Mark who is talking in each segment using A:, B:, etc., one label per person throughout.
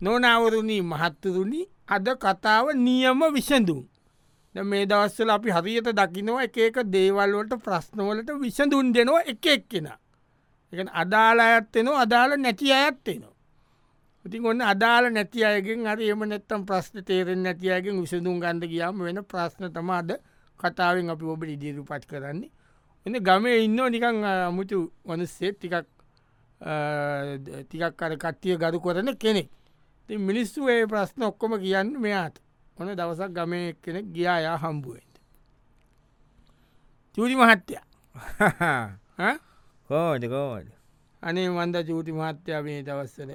A: නොනවරුණී මහත්තුරුණි අද කතාව නියම විසඳුම්. දැන් මේ දවස්සල අපි හරියට දකිනවා එක එක දේවල්වලට ප්‍රශ්නවලට විසඳුන් දෙනවා එක එක්කෙන. එක අදාළ අයත්වෙනවා අදාළ නැති අයත්වෙනවා. ඉතින් ඔන්න අදාළ නැති අයගෙන් හරි එම නැත්තම් ප්‍රශ්න තේරෙන් නැතියගෙන් විසඳුම් ගන්ධ කියාම වෙන ප්‍රශ්න තමාද කතාවෙන් අපි ඔබ ඉදිරු පට් කරන්නේ. එන්න ගමේ ඉන්න නිකං මුතු වනස්සෙත් ටිකක් ටිකක් කර කට්ටිය ගරු කරන කෙනෙක්. ති මිනිස්සු ඒ ප්‍රශ්න ඔක්කොම කියන්න මෙයාත් ඕන දවසක් ගමය කෙනෙක් ගියා යා හම්බුවෙන්ට. චූටි මහත්තයා ඈ?
B: කෝඩ කෝඩ
A: අනේ මන්ද චූටි මහත්තයා මේ දවස්සල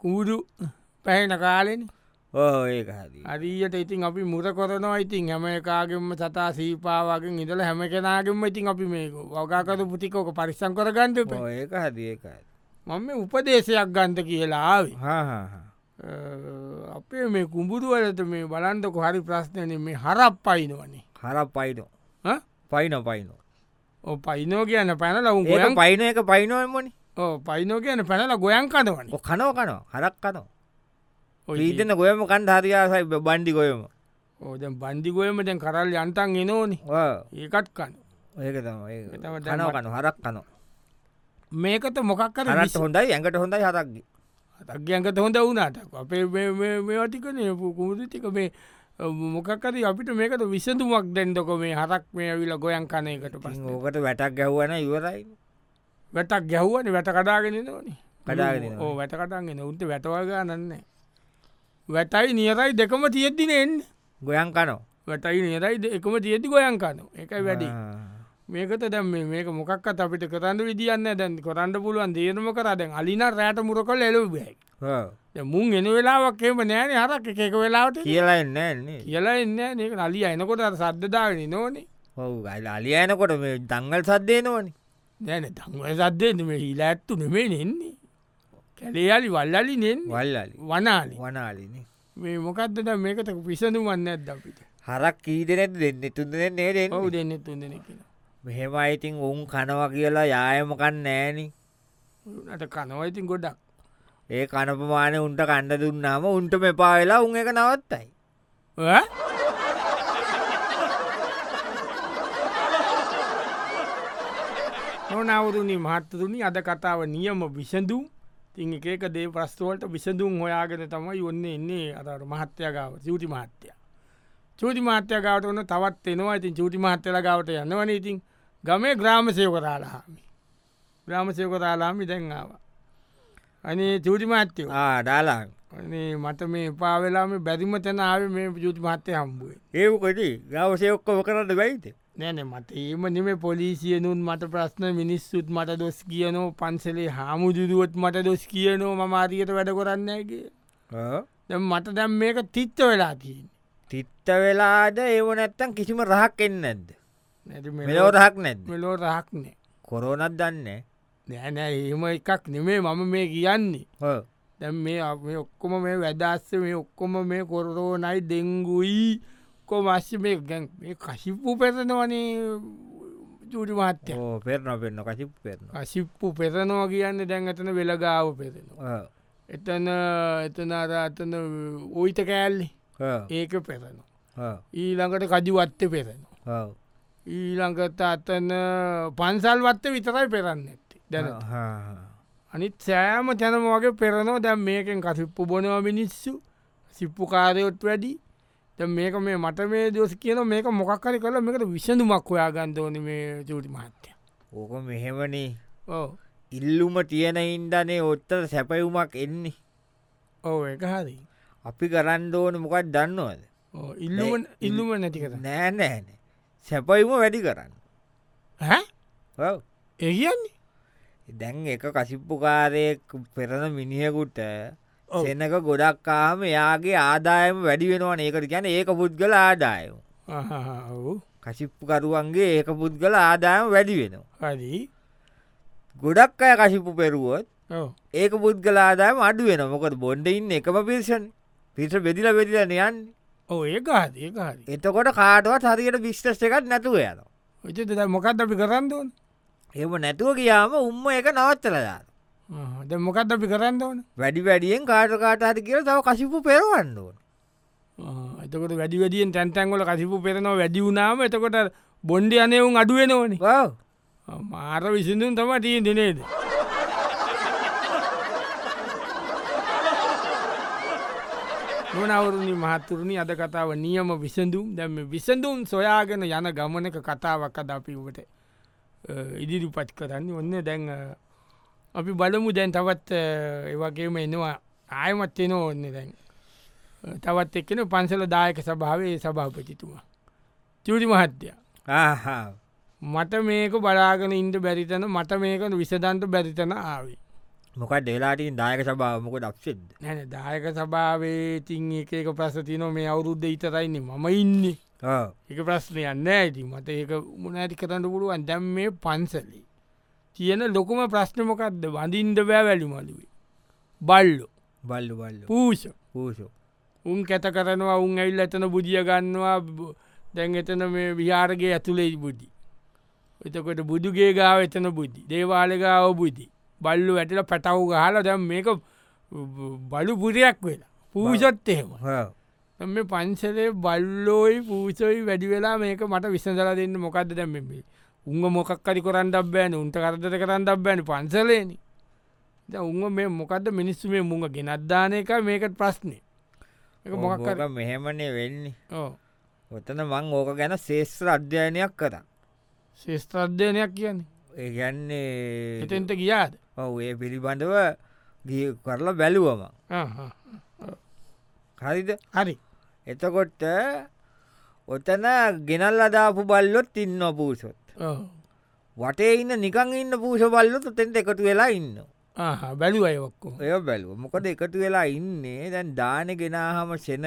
A: කූඩු පැහෙන කාලෙන
B: ඕ ඒක හරි
A: අරීයට ඉතින් අපි මුර කොරනවා ඉතින් හැම එකකාගෙන්ම සතා සීපාවාගෙන් ඉඳල හැම කෙනගෙන්ම ඉතින් අපි මේක වගාකර පුතිකෝක පරිස්සං කරගන්නප
B: ඕ ඒක හරි ඒකයි
A: මම මේ උපදේශයක් ගන්ත කියලා ආවේ.
B: හාහා
A: අ, අපේ මේ කුඹුරුවලට මේ බලන්දක හරි ප්‍රශ්නයන මේ හරප් පයිනවනේ
B: හර පයිනෝ පයින පයිනෝ
A: පයිනෝ කියන පැනල උන්
B: ඒ
A: ගොයන්
B: පයින එක පයිනෝමනි
A: පයිනෝ කියන පැනල ගොයන් කදවන
B: කනෝ කනෝ හරක් කනෝ ඊතන ගොයම කණ්ඩ හරියාසයි බණ්ඩි ගොයම
A: ඕද බන්ධිගොයම දැන් කරල් යන්තන් එනෝනි ඒකත් කන
B: ඒක
A: ඒක
B: තම
A: තමයි දැන්
B: කනෝ
A: මට-
B: කනු හරක් කනෝ
A: මේකත මොකක් කර
B: හරට හොඳයි ඇඟට හොඳයි හරක්ගි
A: තක්ගයන්ක හොඳ වුණට අපේ මේවටිකන කුමුදුතික මේ මොකකර අපිට මේකට විසඳුවක් දැන්දොක මේ හරක් මේ විල ගොයන් කනයකට පස්
B: ඕකට වැටක් ගැහ්වන ඉවරයි
A: වැටක් ගැහ්වන වැට කඩාගෙන නෝනි
B: කඩාගෙන එනවා.
A: ඕ වැට කටන්ගෙන උන්ට වැටවල්ගා නන්නේ වැටයි නියරයි දෙකම තියෙද්දිනෙන්
B: ගොයන් කනෝ
A: වැටයි නියරයි එකම තියෙද්දි ගොයන් කනු එකයි වැඩි මේකත දැම් මේක මොකක්කත් අපිට කරන්න විදිියන්න දැන් කොරන්න පුළුවන් දේරම කරදැන් අලින රෑට මුර කොල් එලුබයි මුන් එන වෙලාවක් එම නෑන හරක් එකක වෙලාවට
B: කියලා එන්න එන්නේ
A: කියලා එන්න ඒක නලිය එනකොට සද්ධදාගෙන නෝනේ
B: ඔවු ගල් අලියනකොට මේ දංගල් සද්දේ නොවනි
A: දැන තංවය සද්ධයන මේ හිලා ඇත්තු නෙමේ නෙන්නේ කැලේයාලි වල්ලලි නෙන්
B: වල්ලලි
A: වනාලි
B: වනාලිනේ
A: මේ මොකක්දට මේකත පිසඳුමන්න ඇද අපිට
B: හරක් කීදනෙත් දෙන්න තුන්දන නේරෙන්
A: ඔවු දෙන්න තුන් දෙන කියෙන
B: මෙහෙම අයිතින් උන් කනව කියලා යායමකන් නෑනි
A: ට කනවයිතින් ගොඩක්
B: ඒ කනපමාන උන්ට කණ්ඩ දුන්නාම උන්ට මෙපා වෙලා උන් එක නවත්තයි
A: ඈ? නොනවරුණි මහත්තතුනි අද කතාව නියම විසඳුම් තින් එක එක දේ ප්‍රස්තුවලට විසඳුම් හොයාගෙන තමයි ඔන්න එන්නේ අර මහත්‍යගාව චූටි මහත්‍යය චූටි මහත්‍යගාවට ඔන්න තවත් එනවා ඉතින් චූටි මහත්තල ගාවට යන්නවන ඉතින් ගමේ ග්‍රාම සයෝකරාලාහාමි ග්‍රාම සයෝකරාලාමි දැන්ආාව අනේ චූටි මහත්තයෝ
B: ආඩාලා
A: අනේ මට මේ පාවෙලාම බැරිම තැනාව මේ යුතු මත්තය හම්බුවේ
B: ඒකටි ගවසේ ඔක්කොම කරන්න බයිත
A: නෑන මට ඒම නිම පොලිසියනුන් මට ප්‍රශ්න මිනිස්සුත් මට දොස් කියනෝ පන්සලේ හාමුදුරුවත් මට දොස් කියනෝ මමාරියට වැඩ කරන්නගේ දැ මට දැම් මේක තිත්ත වෙලා තියෙන්
B: තිත්ත වෙලාද ඒව නැත්තන් කිසිම රහක් එන්න ඇද
A: නැති
B: මෙලෝ රහක් නැද්ද
A: මෙලෝ රහක්නෑ
B: කොරෝනත් දන්න
A: නෑනෑ එහෙම එකක් නෙමේ මම මේ කියන්නේ දැම් මේ අප- මේ ඔක්කොම මේ වැදස්ස මේ ඔක්කොම මේ කොරෝනයි දෙංගුයි කොමස්්‍ය මේ ගැන් මේ කශිප්පු පැතනවනේ චූටි මහත්තය
B: ඕ පෙරන පෙන්න්න කසිප් පෙරන
A: කශිප්පු පෙරනවා කියන්න දැන් ඇතන වෙළගාව පෙරෙනවා. එතන එතන අර අතන ඔයිත කෑල්ලි ඒක පෙරනවා. ඊළඟට කජුවත්ත පෙරෙනවා. ඊළඟට අතන පන්සල් වත්ත විතරයි පෙරන්න ඇති දැන අනිත් සෑම තැනම වගේ පෙරනවා දැම් මේකෙන් කසිප්පු බොනවා මිනිස්සු සිප්පු කාරයොත් වැඩි දැන් මේක මේ මට මේ දෝස කියන මේක මොකක්කරි කල මේකට විසඳුමක් ඔයා ගන්දෝන මේ චූටි මහත්තය
B: ඕක මෙහෙමනේ
A: ඕ
B: ඉල්ලුම තියෙන ඉන්දනේ ඔත්තර සැපයුමක් එන්නේ
A: ඕ එක හරි
B: අපි කරන්න ඕන මොකක් දන්නවද
A: ඕ, ඉල්ලුම ඉල්ලුම නැති කරන්න
B: නෑනෑන සැපයිම වැඩි කරන්න
A: හැ
B: ඔව්.
A: එහියන්නේ
B: දැන් එක කසිප්පුකාරයෙක් පෙරන මිනිියකුට
A: ඔව්.
B: සෙනක ගොඩක් කාම යාගේ ආදායම වැඩි වෙනවා ඒකට ගැන ඒක පුද්ගල ආදායම
A: ඔව්
B: කසිප්පුකරුවන්ගේ ඒක පුද්ගල ආදායම වැඩි වෙනවා
A: හරි
B: ගොඩක් අය කසිප්පු පෙරුවොත්
A: ඕ
B: ඒක පුද්ගල ආදායම අඩු වෙන මොකද බොන්ඩ ඉන්න එකම පිරිසන් පිස බෙදිල බෙදිලන යන්න
A: ඕ ඒක හරි ඒක හරි
B: එතකොට කාටවත් හරියට විිශ්ටස් එකත් නැතුව යනවා
A: ඔච මොකත් අපි කරන්දන්
B: එම නැතුව කියාම උම්ම එක නවත්තලදාන
A: ද මොකත් අපි කරන්න ඕන
B: වැඩි වැඩියෙන් කාටකාට හරි කියල තව කසිපු පෙරවන්න ඕන
A: ආ, එතකොට වැඩි වැඩියෙන් තැන්තැන්ගොල කසිපු පෙරනවා වැඩි වුණාම එතකොට බොන්්ඩ අනයවුන් අඩුවෙන ඕනි
B: ඔව්.
A: මාර විසිඳුන් තම තිය දෙනේද නොනවරුණි මහත්තුරුණි අද කතාව නියම විසඳුම් දැම විසඳුම් සොයාගෙන යන ගමනක කතාවක් අද අපි ඔබට අ, ඉදිරිපත් කරන්න ඔන්න දැන් අ, අපි බලමු දැන් තවත් ඒවගේම එනවා ආයමත් එන ඔන්න දැන් අ, තවත් එක්කෙන පන්සල දායක සභාවේ සභාපතිතුමා චූරි මහත්තයා
B: ආහා.
A: මට මේක බලාගෙන ඉන්ට බැරිතන මට මේක විසදන්ට බැරිතන ආවේ
B: මොකක් ඩෙලාටින් දායක සබාව මොක දක්ෂෙද
A: නැන දායක සභාවේ තින් එක එක ප්‍රසතින මේ අවුරුද්ධ ඉතරයින්නේ මම ඉන්නේ එක ප්‍රශ්නය යන්න ඇති මත ඒක මුණ ඇති කරන්න පුළුවන් දැම් මේ පන්සලි තියෙන ලොකුම ප්‍රශ්නමකක්ද වඳින්ට බෑ වැලි මලුවේ බල්ලෝ
B: බල්ලු බල්ලු
A: පූෂ
B: පූෂෝ
A: උන් කැත කරනවා උන් ඇල් ඇතන බුදිය ගන්නවා බ- දැන් එතන මේ විහාරගේ ඇතුළෙයි බුද්ධි. එතකොට බුදුගේ ගාව එතන බුද්ධි දේවාලගාව බුද්ධි බල්ලු ඇටල පැටව් ගහල දැම් මේක බ- බලු පුරයක් වෙලා පූෂත් එහෙම දැන් මේ පන්සලේ බල්ලෝයි පූසොයි වැඩි වෙලා මේක මට විසඳලා දෙන්න මොකක්ද දැම් මේ උංග මොකක්කරි කොරන්ඩක් බෑන උන්ට කරදර කරන්නක් බෑන පන්සලේන උංග මේ මොකක්ද මිනිස්සු මේ මුංග ගෙනත්දාන එක මේකට ප්‍රශ්නය එක මොකක්කර
B: මොකක් මෙහෙමනේ වෙන්නේ
A: ඕ
B: ඔතන මං ඕක ගැන ශේෂ්‍ර අධ්‍යයනයක් කර
A: ශේෂත්‍රද්ධයනයක් කියන්නේ
B: ඒගැන්නේ
A: එතෙන්ට ගියාද
B: ඔව ඒ පිළිබඳව ගිය කරලා බැලුවම
A: ආ, ආ.
B: හරිද
A: හරි
B: එතකොට ඔතන ගෙනල් අදාපු බල්ලොත් ඉන්න පූසොත්
A: ඔව්.
B: වටේ ඉන්න නිකං ඉන්න පූෂ බල්ලොත් තෙන්ට එකතු වෙලා ඉන්න
A: ආහා, බැලු අය ඔක්කෝ
B: ඔය බැලුව මොකද එකතු වෙලා ඉන්නේ දැන් දාන ගෙනාහම සෙනග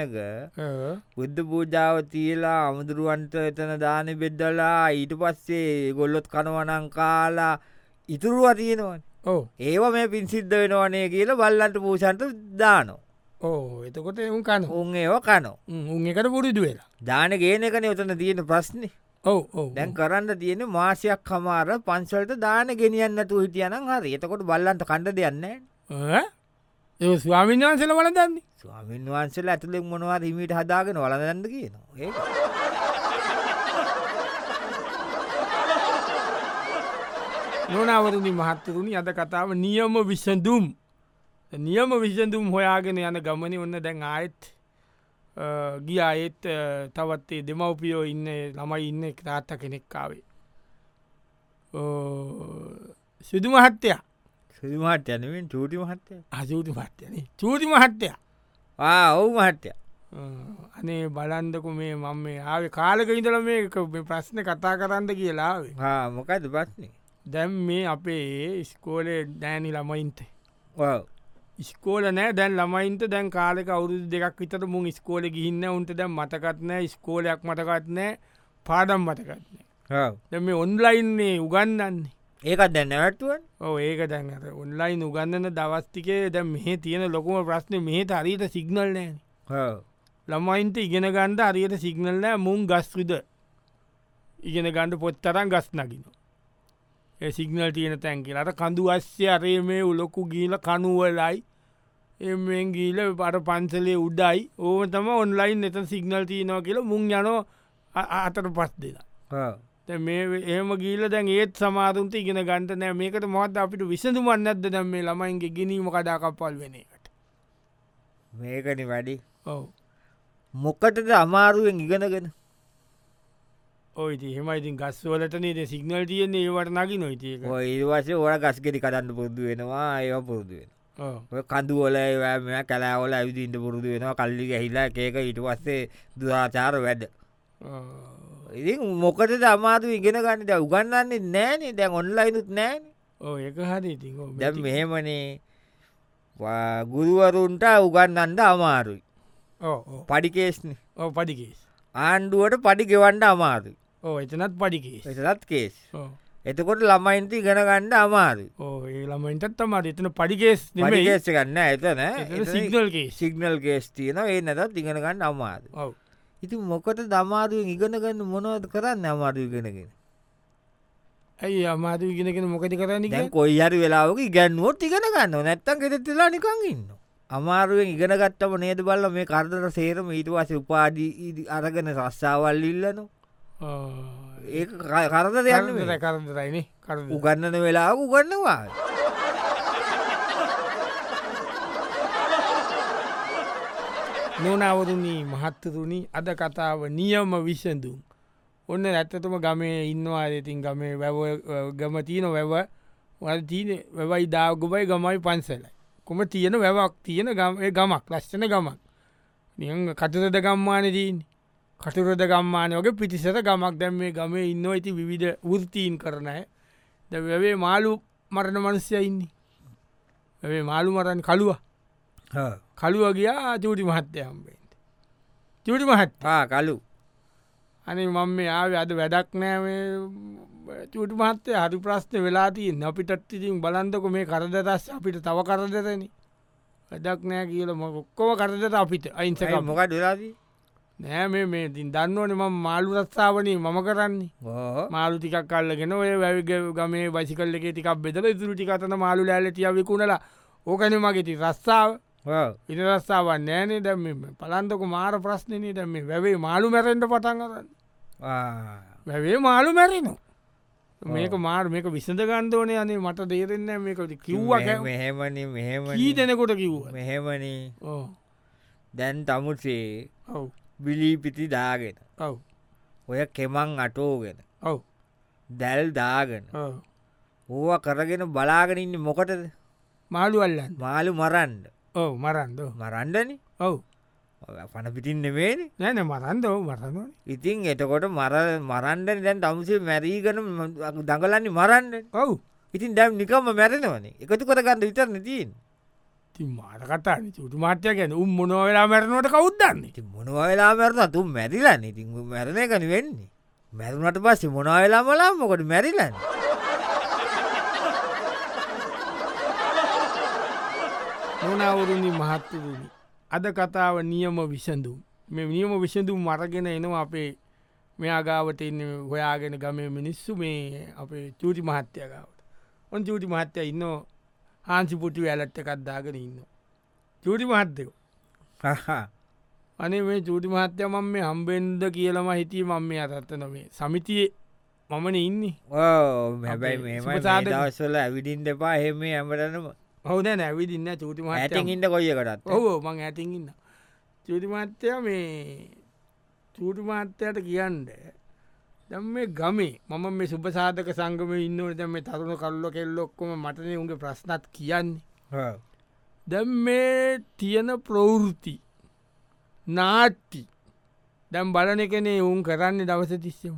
B: බුද්ධ පූජාව තියලා අමුදුරුවන්ට එතන දාන බෙද්දලා ඊට පස්සේ ගොල්ලොත් කනවනං කාලා ඉතුරුව තියෙනවන්
A: ඕ
B: ඒව මේ පින් සිද්ධ වෙනවනේ කියලා බල්ලන්ට පූෂන්ට දානෝ
A: ඕ එතකොට එවුන් කන
B: උන් ඒව කනෝ
A: උන් එකට පුරුදු වෙලා
B: දාන ගේන එකන ඔතන තියෙන ප්‍රශ්නය
A: ඔව ඔව
B: දැන් කරන්න තියෙන මාසයක් හමාර පන්සල්ට දාන ගෙනියන්නතු හිටියනම් හරි එතකොට බල්ලන්ට කණ්ඩ දෙයන්න
A: ඒ ස්වාමින් වහන්සල වල දන්නේ
B: ස්වාමීන් වහන්සල ඇතුළෙක් මොනවා හිමිට හදාගෙන වලදන්න කියනවා ඒක.
A: නොනවරදි මහත්තරුණි අද කතාව නියම විසඳුම් නියම විසඳුම් හොයාගෙන යන ගමනි ඔන්න දැන් ආයෙත් අ, ගිය අයෙත් අ, තවත්තේ දෙමවපියෝ ඉන්න ළමයි ඉන්න තාත්ත කෙනෙක්කාවේ සිදු මහත්තයා
B: සිරි මහත්‍ය යනුවෙන් චූටි මහත්තය
A: අසූති මහත්්‍යයන චූති මහත්තයා
B: ඔවු මහත්‍ය
A: අ, අනේ බලන්දකු මේ මම මේ ආවේ කාලක ඉඳල මේ ක- මේ ප්‍රශ්න කතා කරන්න කියලාවේ
B: මොකද පස්නේ
A: දැම් මේ අපේ ඉස්කෝලේ දෑනි ළමයින්තේ
B: ඔව්.
A: ස්කෝල නෑ දැන් ළමයින්ට දැන් කාලෙක අවුරුදු දෙකක් විතර මුන් ස්කෝල ගිහින්න උන්ට දැන් මතකත්නෑ ස්කෝලයක් මතකත්නෑ පාඩම් මතකත්නෑ
B: ඔව්.
A: දැම මේ ඔන්ලයින්නේ උගන්නන්නේ
B: ඒකත් දැන්න වැටුවන්
A: ඕ ඒක දැන් අර ඔන්ලයින් උගන්නන දවස්තිකේ දැ මෙහ තියෙන ලොකුම ප්‍රශ්න මෙහ හරියට සිගනල් නෑන ළමයින්ට ඉගෙන ගණ්ඩ අරියට සිගනල් නෑ මුන් ගස්විද ඉගෙන ගණ්ඩ පොත් තරම් ගස් නකින ඒ සිගනල් තියෙන තැන්කිල අට කඳු අස්්‍ය අරේ මේ උලොකු ගීල කනුවලයි එෙන් ගීල පට පන්සලේ උඩයි ඕම තම ඔන්ලයින් එත සිගනල් තියනවා කියල මුං යනෝ අ- අ- අතට පස් දෙලා දැන් මේ වෙ- එහෙම ගීල දැන් ඒත් සමාරුන්ට ඉගෙන ගන්ට නෑ මේකට මොත් අපිට විසඳුමන් ඇද දැම් මේ ළමයින්ගේ ගැනීම කඩාකපල් වෙන එකට
B: මේකන වැඩි
A: ඔව
B: මොකටද අමාරුවෙන් ඉගෙනගෙන
A: ඔයිති හෙමයිතින් ගස්වලටනේද සිගනල් තියන්නේ ඒවට නගි නොයිතික
B: ඒවස ඕල ගස්ගෙරි කඩන්න පුරුදු වෙනවා ඒව පුරුදු වෙන ඔය කඳුවල ඒවෑම කලාවල ඇවිදින්ට පුරුදු වෙනවා කල්ලි ඇහිලා ඒක ඉට පස්සේ දුරාචාර වැඩ ඉති මොකටද අමාරු ඉගෙන ගන්නට උගන්නන්නේ නෑනේ දැන් ඔන්ලයිනුත් නෑන
A: ඕ ඒක හරි ඉති
B: දැම් මෙහෙමනේ වා- ගුරුවරුන්ට උගන්නන්ට අමාරුයි පඩිකේස්න
A: ඕ පඩිකේස්
B: ආණ්ඩුවට පඩි ගෙවන්ඩ අමාරුයි
A: ඕ එතනත් පඩිකේස්
B: එසලත් කේස්
A: ඕ
B: එතකොට ළමයින්ති ඉගෙනගණ්ඩ අමාරු
A: ඕ ඒ ළමයින්ටත් තමාට එතන පඩිකේස් නෙමේ
B: පඩිකේස් ගන්න ඇතන
A: සිගනල් කේස්
B: සිගනල් ගේස් තියන ඒ නැතත් ඉගෙනගන්න අමාරු
A: ඔව
B: ඉති මොකට දමාරුවෙන් ඉගෙනගන්න මොනවද කරන්න අමාරු ඉගෙනගෙන
A: ඇයි අමාතු ඉගෙනගෙන මොකද කරන්න
B: දැන් කොයි අරි වෙලාවක ඉගැන්නුවොත් ඉගෙන ගන්න නැත්තන් ගෙතෙලා නිකං ඉන්න අමාරුවෙන් ඉගෙනගත්තම නේද බල්ල මේ කරදර සේරම ඊට වස උපාදී අරගෙන රස්සාවල් ඉල්ලනු ඒ කරද දෙයන්න
A: කරදරයින
B: උගන්නන වෙලාව උගන්නවා
A: නොනවරුණී මහත්තතුනි අද කතාව නියම විසඳුම් ඔන්න ඇත්තතුම ගමේ ඉන්නවා ඉතින් ගමේ වැව ගම තියන වැව වල්තිීන වැවයි දාගුබයි ගමයි පන්සලයි කොම තියෙන වැවක් තියෙන ගමක් ලස්සන ගමක් නිිය කතුරද ගම්මානදීන් කටුරද ගම්මානයෝගේ පිටිසර ගමක් දැම් මේ ගමේ ඉන්න ඇති විධ වෘතීන් කරනය ද වැවේ මාලු මරණ මනුස්්‍යය ඉන්නේ වැවේ මාලු මරන් කළුවා කළුව ගියා චූටි මහත්තයම්බෙන් චූටි මහත්තා
B: කලු
A: අනේ මං මේ ආවේ අද වැඩක් නෑ චූටි මහත්තය හරි ප්‍රශ්න වෙලාතියෙන් අපිටත් ඉතින් බලන්තක මේ කරදදස් අපිට තව කරදරන වැඩක් නෑ කියල මොක්කොම කරදට අපිට අයින්සක
B: මොකට වෙලාදී
A: නෑ මේ මේ තින් දන්නවන ම මාලු රත්සාාවනී මම කරන්නේ මාලු ටිකක් කල්ලගෙන ඔය වැවිග ගමේ වසිකල්ල එක ටිකක් බෙදල ඉතුරු ටිකතන මාලු ලෑල තිය විකුණලා ඕකන මගේති රස්සාාව ඉට රස්සාාවන් නෑනේ දැම පලන්තක මාර ප්‍රශ්නනී දැම වැවේ මාලු මැරෙන්ට පටන් කරන්න වැැවේ මාලු මැරෙනු මේක මාර මේක විසඳ ගන්දෝනය අනේ මට දේරෙන්න මේකට කිව්ව
B: මෙහෙමන මෙහෙම
A: ඊදනකොට කිව්
B: මෙහෙමන දැන් තමුසේ ඔව බිලිපිති දාගෙන
A: ඔව
B: ඔය කෙමං අටෝගෙන
A: ඔව
B: දැල් දාගෙන ඕව කරගෙන බලාගෙන ඉන්න මොකටද
A: මාළු අල්ලන්න
B: මාළු මරන්ඩ
A: ඕ මරන්ද
B: මරන්ඩන
A: ඔව
B: පන පිටින්න වේන
A: නැන මරන්ද මරන
B: ඉතින් එතකොට මර මරන්ඩන දැන් තමසේ මැරීගන දඟලන්න මරන්ඩ
A: ඔව
B: ඉතින් දැම් නිකම මැරෙනවන එකතු කරගන්න විතරන තිීන්
A: ති මාට කතා චුටු මාට්‍ය ගැන උම් මොනවෙලා මැරනවට කවුද්දන්න
B: ති මොනවෙලා මැරන තුම් මැරිලන්න ඉතින් මැරණ කන වෙන්නේ මැරුණට පස්සේ මොනවෙලා මලා මොකට මැරිලන්න.
A: නොනවුරුණි මහත්තරුණි අද කතාව නියම විසඳුම් මේ නියම විසඳුම් මරගෙන එනවා අපේ මෙයාගාවට ඉන්න හොයාගෙන ගමේ මිනිස්සු මේ අපේ චූටි මහත්තයගාවට ඔන් චූටි මහත්තය ඉන්න හාන්සිපුටි වැලට්ට කද්දාගෙන ඉන්න චූටි මහත්තයෝ අනේ මේ චූටි මහත්තය මම මේ හම්බෙන්ද කියලම හිටිය මම මේ අතත්තන මේ සමිතියේ මමන ඉන්නේ
B: ඕ හැබැයි මෙම සාදවස්සල ඇවිඩින් දෙපා හෙම ඇමටනවා
A: හවද නැවිදින්න චූටිම
B: ඇතිඉට කොයකටත්
A: ඔහෝ මං ඇතිඉන්න චූටිමත්්‍යය මේ චූටිමාත්‍යයට කියන්ඩ දැම් මේ ගමේ මම මේ සුපසාධක සංගම ඉන්නවට දැම තරුණ කල්ලො කෙල්ලොක්කොම මටන උගේ ප්‍රශ්නත් කියන්නේ දැම් මේ තියන ප්‍රවෘති නාට්ටි දැම් බලන කනේ උන් කරන්නේ දවස තිස්සම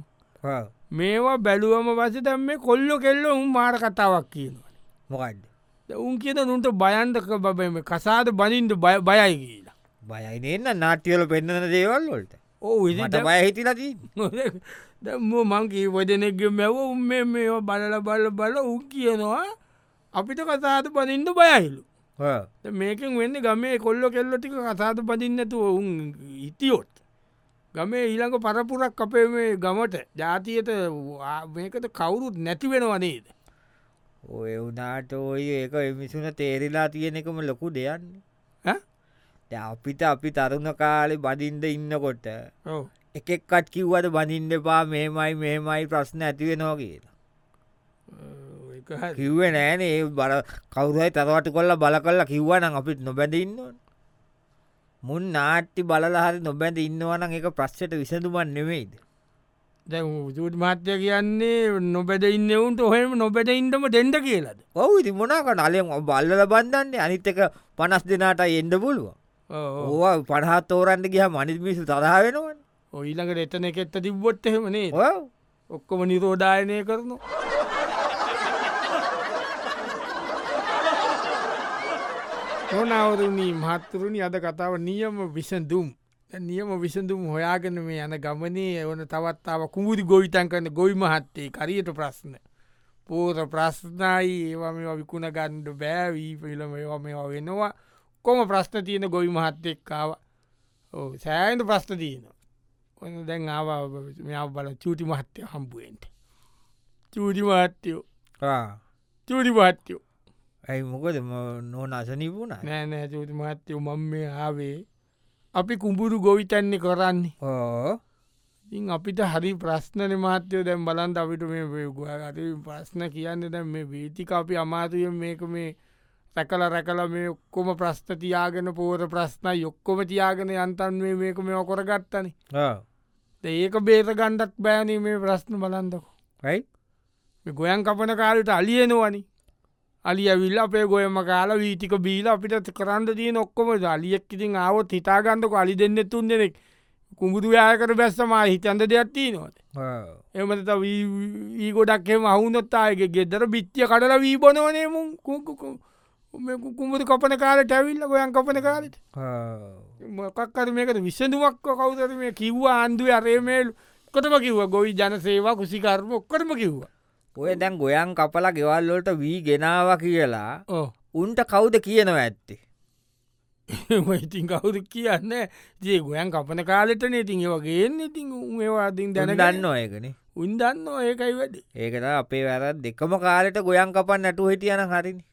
A: මේවා බැලුවම වස දැම් මේ කොල්ලො කෙල්ලො උන් මාර කතාවක් කියනවා
B: මොකක්ද
A: උන් කියන නුන්ට බයන්ටක බබම කසාද බනින්ට බයයි කියලා
B: බයයි එන්න නාට්‍යවල පෙන්න්නන දේවල් වොලට ඕට බය හිතිලති
A: මංකී වදනෙක් මැව උම් මේ බලල බල බල උන් කියනවා අපිට කසාද පනින්ට බයහිලු මේකෙන් වෙන්න ගමේ කොල්ලො කෙල්ලො ටික කසාද පදින්නතුව උන් ඉතියොත් ගමේ ඊළඟ පරපුරක් අපේ මේ ගමට ජාතියට මේකට කවුරුත් නැතිවෙනවනේද
B: ඔය වනාට ඔය ඒක එමිසුන තේරලා තියෙන එකම ලොකු දෙයන්නේ අපිට අපි තරුණ කාලෙ බඳින්ද ඉන්නකොට එකෙක්කට කිව්වට බඳින්ඩ පා මෙමයි මෙමයි ප්‍රශ්න ඇතිවෙනවා කියලා කිව්ව නෑන ඒ බර කවුරයි තරවට කොල්ලා බල කල්ලා කිව්වනම් අපිත් නොබැඳ ඉන්නවන මුන් නාට්ටි බලහරි නොබැඳ ඉන්නවනම් එක ප්‍රශ්යට විසඳුමන් නෙවෙයිද
A: දැ ජූට මාත්‍ය කියන්නේ නොබැද ඉන්නවුන්ට ඔහෙම නොබැට ඉන්ටම දෙෙන්ඩ කියලද
B: ඔවු ඉති මොනාකට අලෙන් බල්ලල බන්ධන්නේ අනිත්තක පනස් දෙනාට එන්ඩ පුළුව ඕ පඩහත් තෝරන්ට ගිය මනිමිසු තරහ වෙනවන්
A: ඔයිළඟට එතන එකෙත්ත තිබ්බොත් එහෙමනේ ඔක්කොම නිරෝධායනය කරනු ඕනවරුණී මහත්තුරුණි අද කතාව නියම විසඳුම් නියම විසඳුම් හොයාගෙන මේ යන ගමනේ එවන තවත්තාව කුමුදි ගොවිතන් කරන ගොයි මහත්තේ කරියට ප්‍රශ්න. පෝර ප්‍රශ්නයි ඒවා මේ විකුණ ගණ්ඩ බෑවී පිළම ඒවා මේවා වෙනවා කොම ප්‍රශ්න තියෙන ගොයි මහත්තෙක්කාව සෑන්ට ප්‍රශ්න තියෙන. ඔන්න දැන් ආවා බල චූටි මහත්තය හම්බුවෙන්ට. චූඩි මාත්‍යයෝ චූඩි පාත්‍යයෝ
B: ඇයි මොකද නො නසනිපුුණ
A: නෑනෑ චූති මහත්තයෝ මං මේ ආවේ අපි කුඹුරු ගොවිතන්නේ කරන්නේ
B: ඕ
A: ඉන් අපිට හරි ප්‍රශ්නන මාත්‍යයෝ දැම් බලන්ට අපිට මේ ගුවගත ප්‍රශ්න කියන්න දැ මේ වීතික අපි අමාතුයෙන් මේක මේ රැකල රැකල මේ ඔක්කොම ප්‍රශ්න තියාගෙන පෝර ප්‍රශ්න යොක්කොම තියාගෙන යන්තන් මේ මේක මේ ඔකොර ගත්තන ඒක බේත ගණ්ඩක් බෑනේ මේ ප්‍රශ්න බලන්දකු
B: ඇයි
A: ගොයන් කපන කාලට අලියනවනි අලි ඇවිල් අපේ ගොයම කාල වීතික බීල අපිට කරන්න දී නොක්කොම දලියක් ඉතින් ආවොත් හිතාගන්නක අලි දෙන්න තුන් දෙනෙක් කුමුදුයාකට බැස්සමා හිතන්ද දෙයක් තිීනොට එමත වී ගොඩක්ම අවුනොත්තායගේ ගෙදර බිත්්‍ය කඩල වී බොනවනේ කුමට කපන කාලට ඇවිල්ල ගොයන් කපන කාලට මොකක්කර මේකට විසඳුවක්ක කවුතර මේ කිව්වා ආන්දු අරේමේල් කොටම කිව්ව ගොවි ජනසේවා කුසිකර්ම ඔක්කරම කිව්වා
B: ඔය දැන් ගොයන් කපලා ගෙවල්ලොට වී ගෙනාව කියලා උන්ට කවුද කියනවා ඇත්තේ
A: ඉතින් කවුද කියන්න ජේ ගොයන් කපන කාලෙට නේතින් ඒවගේන්න ඉතින් ඒවාදින්
B: දැන දන්න ඒකන
A: උන් දන්න ඒකයි වැඩ
B: ඒකට අපේ වැර දෙකම කාලෙට ගොයන් කපන්න නැටු හිටියන හරිනි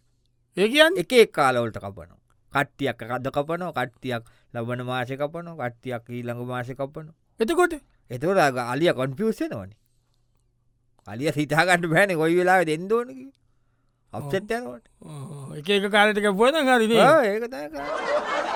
A: ඒකන්
B: එක කාලවලට කපනු කට්ටියක් කද කපනො කට්ටියක් ලබන මාසය කපනො කට්ටියක් ඊළඟ මාසය කපනු
A: එතකොට
B: එතකොට අලිය කොන්පියසෙන ඕනි අලිය සිතාගන්න බෑන ගොයි වෙලාව දෙන්දෝනක අපසෙත්තයනට
A: එක කාලටක පොන හරි
B: ඒකතය